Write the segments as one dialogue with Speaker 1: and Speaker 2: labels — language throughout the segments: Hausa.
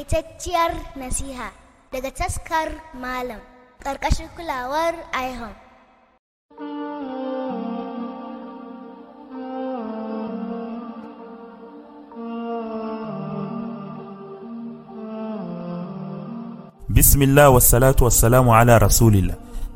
Speaker 1: Takaitacciyar nasiha daga taskar Malam ƙarƙashin kulawar IHOM.
Speaker 2: Bismillah wassalatu wassalamu ala rasulillah.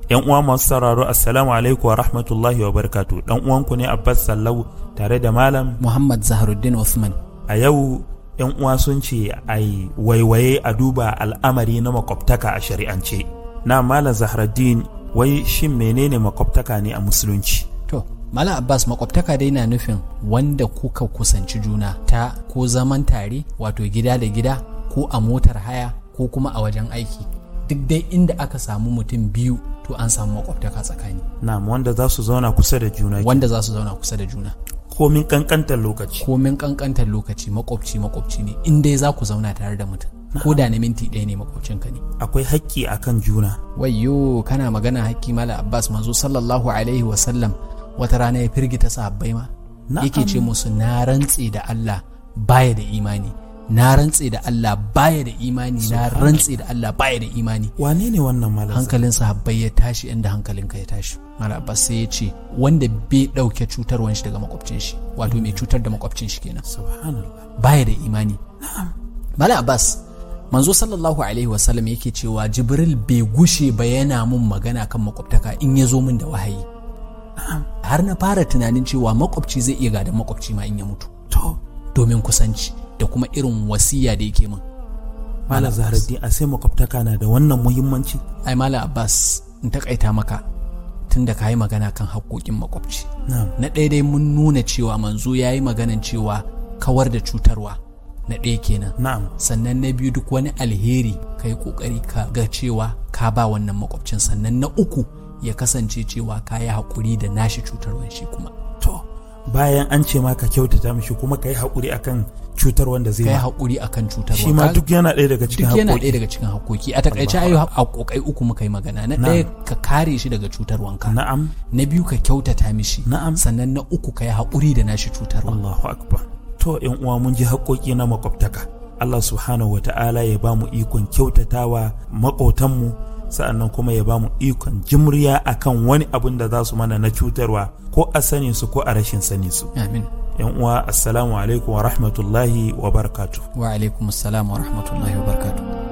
Speaker 2: ‘Yan uwa masu sauraro assalamu alaikum wa rahmatullahi wa barkatu ɗan uwanku ne Abbas Sallau tare da Malam.
Speaker 3: Muhammad Zaharuddin Osman.
Speaker 2: A yau ‘yan uwa sun ce a yi waiwaye a duba al'amari na makwabtaka a shari'ance. Na Malam Zaharuddin wai shin menene makwabtaka ne a musulunci?
Speaker 3: To, Malam Abbas makwabtaka dai na nufin wanda kuka kusanci juna ta ko zaman tare wato gida da gida ko a motar haya ko kuma a wajen aiki. Duk dai inda aka samu mutum biyu to an samu makwabtaka tsakani
Speaker 2: Na wanda za su zauna kusa da juna
Speaker 3: wanda za su zauna kusa da juna.
Speaker 2: komin kankantar lokaci.
Speaker 3: Komin kankantar lokaci makwabci makwabci ne in dai za ku zauna tare da mutum. Ko da na minti ɗaya ne makwabcinka ne.
Speaker 2: Akwai haƙƙi a kan juna.
Speaker 3: Wayyo kana magana hakki Malam Abbas manzo sallallahu alaihi wasallam wata rana ya firgita sahabbai ma.
Speaker 2: Na'am.
Speaker 3: Yake ce musu na rantse da Allah baya da imani. Na rantse da Allah baya da imani na rantse da Allah baya da imani.
Speaker 2: Wane ne wannan Malam? Zahra-
Speaker 3: Hankalin sahabbai ya tashi inda hankalinka ya tashi. Malam Abbas sai ya ce wanda bai ɗauke cutarwan shi daga makwabcin shi wato mai cutar da makwabcin shi kenan.
Speaker 2: Subhanallah.
Speaker 3: baya da imani Malam Abbas manzo sallallahu alaihi wasallam yake cewa Jibril bai gushe ba yana mun magana kan makwabtaka in ya zo min da wahayi har na fara tunanin cewa makwabci zai iya gadon makwabci ma in ya mutu
Speaker 2: To,
Speaker 3: domin kusanci da kuma irin wasiya da yake min
Speaker 2: Malam Zaharaddin a sai makwabtaka na da wannan muhimmanci.
Speaker 3: ai Malam Abbas in takaita maka tunda ka yi magana kan haƙoƙin makwabci
Speaker 2: Na'am.
Speaker 3: na ɗaya dai mun nuna cewa manzo ya yi maganan cewa kawar da cutarwa na ɗaya kenan
Speaker 2: Na'am.
Speaker 3: sannan na biyu duk wani alheri ka yi kokari ka ga cewa ka ba wannan makwabcin sannan na uku ya kasance cewa ka yi haƙuri da nashi cutarwan shi kuma
Speaker 2: To, bayan an ce ma ka kyautata mishi kuma ka yi haƙuri akan cutar wanda zai
Speaker 3: ka yi
Speaker 2: ma.
Speaker 3: haƙuri akan cutarwa
Speaker 2: Shi ma
Speaker 3: Ka-
Speaker 2: duk yana ɗaya daga cikin
Speaker 3: duk yana ɗaya
Speaker 2: haƙoƙi.
Speaker 3: daga cikin haƙoƙi a takaice ayo haƙoƙai uku muka yi magana na ɗaya ka kare shi daga cutarwanka
Speaker 2: Na'am.
Speaker 3: na biyu ka kyautata mishi
Speaker 2: Na'am.
Speaker 3: sannan na uku ka yi haƙuri da nashi cutarwa
Speaker 2: Allahu Akbar. To, ‘yan uwa mun ji haƙoƙi na makwabtaka. Allah Subhanahu wa ta'ala ya ba mu ikon kyautatawa maƙotanmu sa'annan kuma ya ba mu ikon jimriya akan wani abin da za su mana na cutarwa ko a sanin su ko a rashin sanin su.
Speaker 3: amin
Speaker 2: ‘Yan uwa, Assalamu alaikum wa rahmatullahi wa barakatuh.
Speaker 3: wa alaikumussalam wa rahmatullahi wa barakatuh